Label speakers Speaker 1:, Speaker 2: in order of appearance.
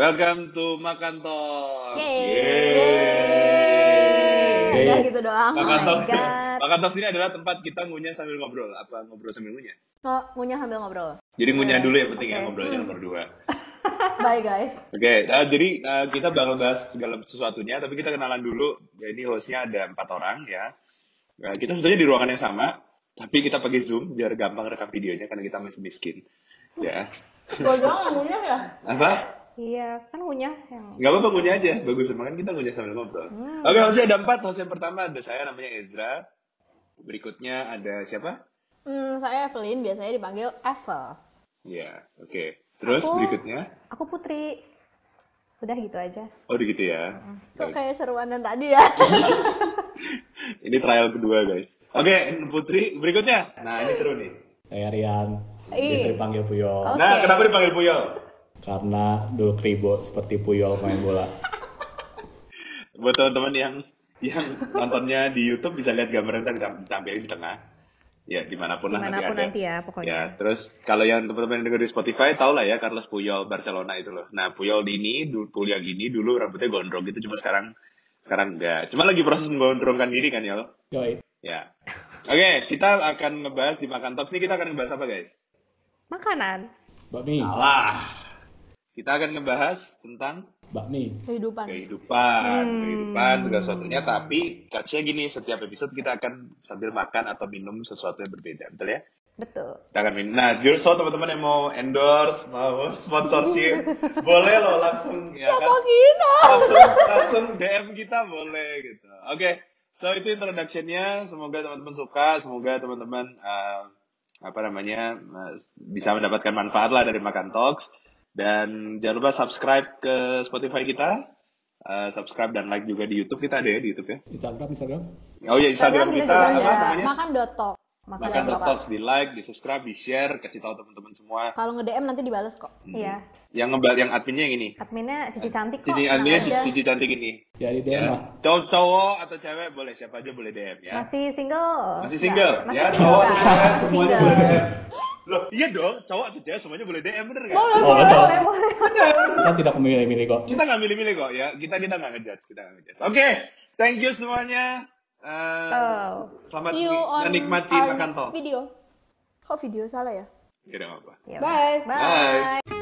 Speaker 1: Welcome to Makan Talks.
Speaker 2: Yeay.
Speaker 1: Yeay.
Speaker 2: Udah gitu doang.
Speaker 1: Makan
Speaker 2: Oh
Speaker 1: Talks.
Speaker 2: my god.
Speaker 1: Makan Talks ini adalah tempat kita ngunyah sambil ngobrol. Apa ngobrol sambil ngunyah?
Speaker 2: Oh, punya sambil ngobrol.
Speaker 1: Jadi ngunyah dulu yang penting ya
Speaker 2: Oke.
Speaker 1: ngobrolnya nomor dua.
Speaker 2: Bye guys.
Speaker 1: Oke, nah, jadi nah, kita bakal bahas segala sesuatunya, tapi kita kenalan dulu. Jadi hostnya ada empat orang ya. Nah, kita sebetulnya di ruangan yang sama, tapi kita pakai Zoom biar gampang rekam videonya karena kita masih miskin. Ya,
Speaker 2: Gue doang ngomongnya ya.
Speaker 1: apa?
Speaker 3: Iya, kan punya yang
Speaker 1: Gak apa-apa punya aja, bagus emang kan kita punya sambil ngobrol.
Speaker 3: Hmm.
Speaker 1: Oke, hostnya ada empat, host yang pertama ada saya namanya Ezra. Berikutnya ada siapa?
Speaker 2: Hmm, saya Evelyn, biasanya dipanggil Evel.
Speaker 1: Ya, oke. Terus
Speaker 3: Aku.
Speaker 1: berikutnya,
Speaker 3: aku putri. Udah gitu aja.
Speaker 1: oh udah gitu ya.
Speaker 2: Kok kayak seruan dan tadi ya?
Speaker 1: Ini trial kedua guys. Oke, Putri berikutnya. Nah ini seru nih.
Speaker 4: Saya Rian,
Speaker 3: Ih.
Speaker 4: biasa dipanggil Puyol
Speaker 3: Oke.
Speaker 1: Nah kenapa dipanggil Puyol?
Speaker 4: karena dulu kribo seperti Puyol main bola.
Speaker 1: Buat teman-teman yang yang nontonnya di YouTube bisa lihat gambaran kita tampilin di tengah. Ya dimanapun, lah
Speaker 3: Dimanapun
Speaker 1: ada.
Speaker 3: nanti ya, pokoknya.
Speaker 1: Ya, terus kalau yang teman-teman yang denger di Spotify tau lah ya Carlos Puyol Barcelona itu loh. Nah Puyol ini, dulu kuliah gini dulu rambutnya gondrong gitu, cuma sekarang sekarang enggak. Cuma lagi proses menggondrongkan diri kan Yol.
Speaker 4: Yoi.
Speaker 1: Ya. Oke, kita akan ngebahas di Makan Talks ini kita akan ngebahas apa guys?
Speaker 3: Makanan.
Speaker 4: Bakmi,
Speaker 1: Salah. Kita akan ngebahas tentang
Speaker 4: bakmi.
Speaker 2: Kehidupan. Hmm.
Speaker 1: kehidupan, kehidupan segala sesuatunya. Tapi catch-nya gini, setiap episode kita akan sambil makan atau minum sesuatu yang berbeda, betul ya?
Speaker 3: Betul.
Speaker 1: Kita akan minum. Nah, Jurso teman-teman yang mau endorse, mau sponsorship, boleh loh langsung ya
Speaker 2: Siapa
Speaker 1: kan?
Speaker 2: kita?
Speaker 1: Langsung, langsung DM kita boleh gitu. Oke, so itu introduction-nya. Semoga teman-teman suka, semoga teman-teman eh, apa namanya eh, bisa mendapatkan manfaat lah dari Makan Talks. Dan jangan lupa subscribe ke Spotify kita. Eh, subscribe dan like juga di YouTube kita ada ya di YouTube ya.
Speaker 4: Instagram, Instagram.
Speaker 1: Oh ya Instagram
Speaker 3: Instagram
Speaker 1: kita apa
Speaker 3: juga sudah ya.
Speaker 1: namanya?
Speaker 2: Iya, Makan dotok.
Speaker 1: Makan
Speaker 2: Jangan lupa.
Speaker 1: Talks di like, di subscribe, di share, kasih tahu teman-teman semua.
Speaker 2: Kalau nge-DM nanti dibales kok.
Speaker 3: Iya.
Speaker 1: Yang ngebal yang adminnya yang ini.
Speaker 3: Adminnya Cici cantik
Speaker 1: Eh,
Speaker 3: kok.
Speaker 1: Cici adminnya
Speaker 2: ada.
Speaker 1: Cici cantik ini.
Speaker 4: Jadi DM lah.
Speaker 1: Ya. Cowok, cowok atau cewek boleh siapa aja boleh DM ya.
Speaker 3: Masih single.
Speaker 1: Masih single
Speaker 3: Masih
Speaker 1: ya,
Speaker 3: single,
Speaker 1: cowok
Speaker 3: kan?
Speaker 1: atau cewek
Speaker 3: Masih
Speaker 1: semuanya
Speaker 3: single.
Speaker 1: boleh DM. Loh, iya dong, cowok atau cewek semuanya boleh DM bener kan?
Speaker 4: Oh, betul.
Speaker 3: Boleh, boleh.
Speaker 4: Kita tidak memilih-milih kok.
Speaker 1: Kita nggak milih-milih kok ya, kita kita nggak ngejudge, kita nggak ngejudge. Oke, thank you semuanya. Eh,
Speaker 3: Oh.
Speaker 1: Selamat
Speaker 2: See you on
Speaker 1: menikmati
Speaker 2: our
Speaker 1: makan
Speaker 2: next
Speaker 1: talks.
Speaker 2: video. Kok video salah ya?
Speaker 1: Tidak apa.
Speaker 3: Ya udah.
Speaker 2: Bye.
Speaker 3: Bye.
Speaker 1: Bye.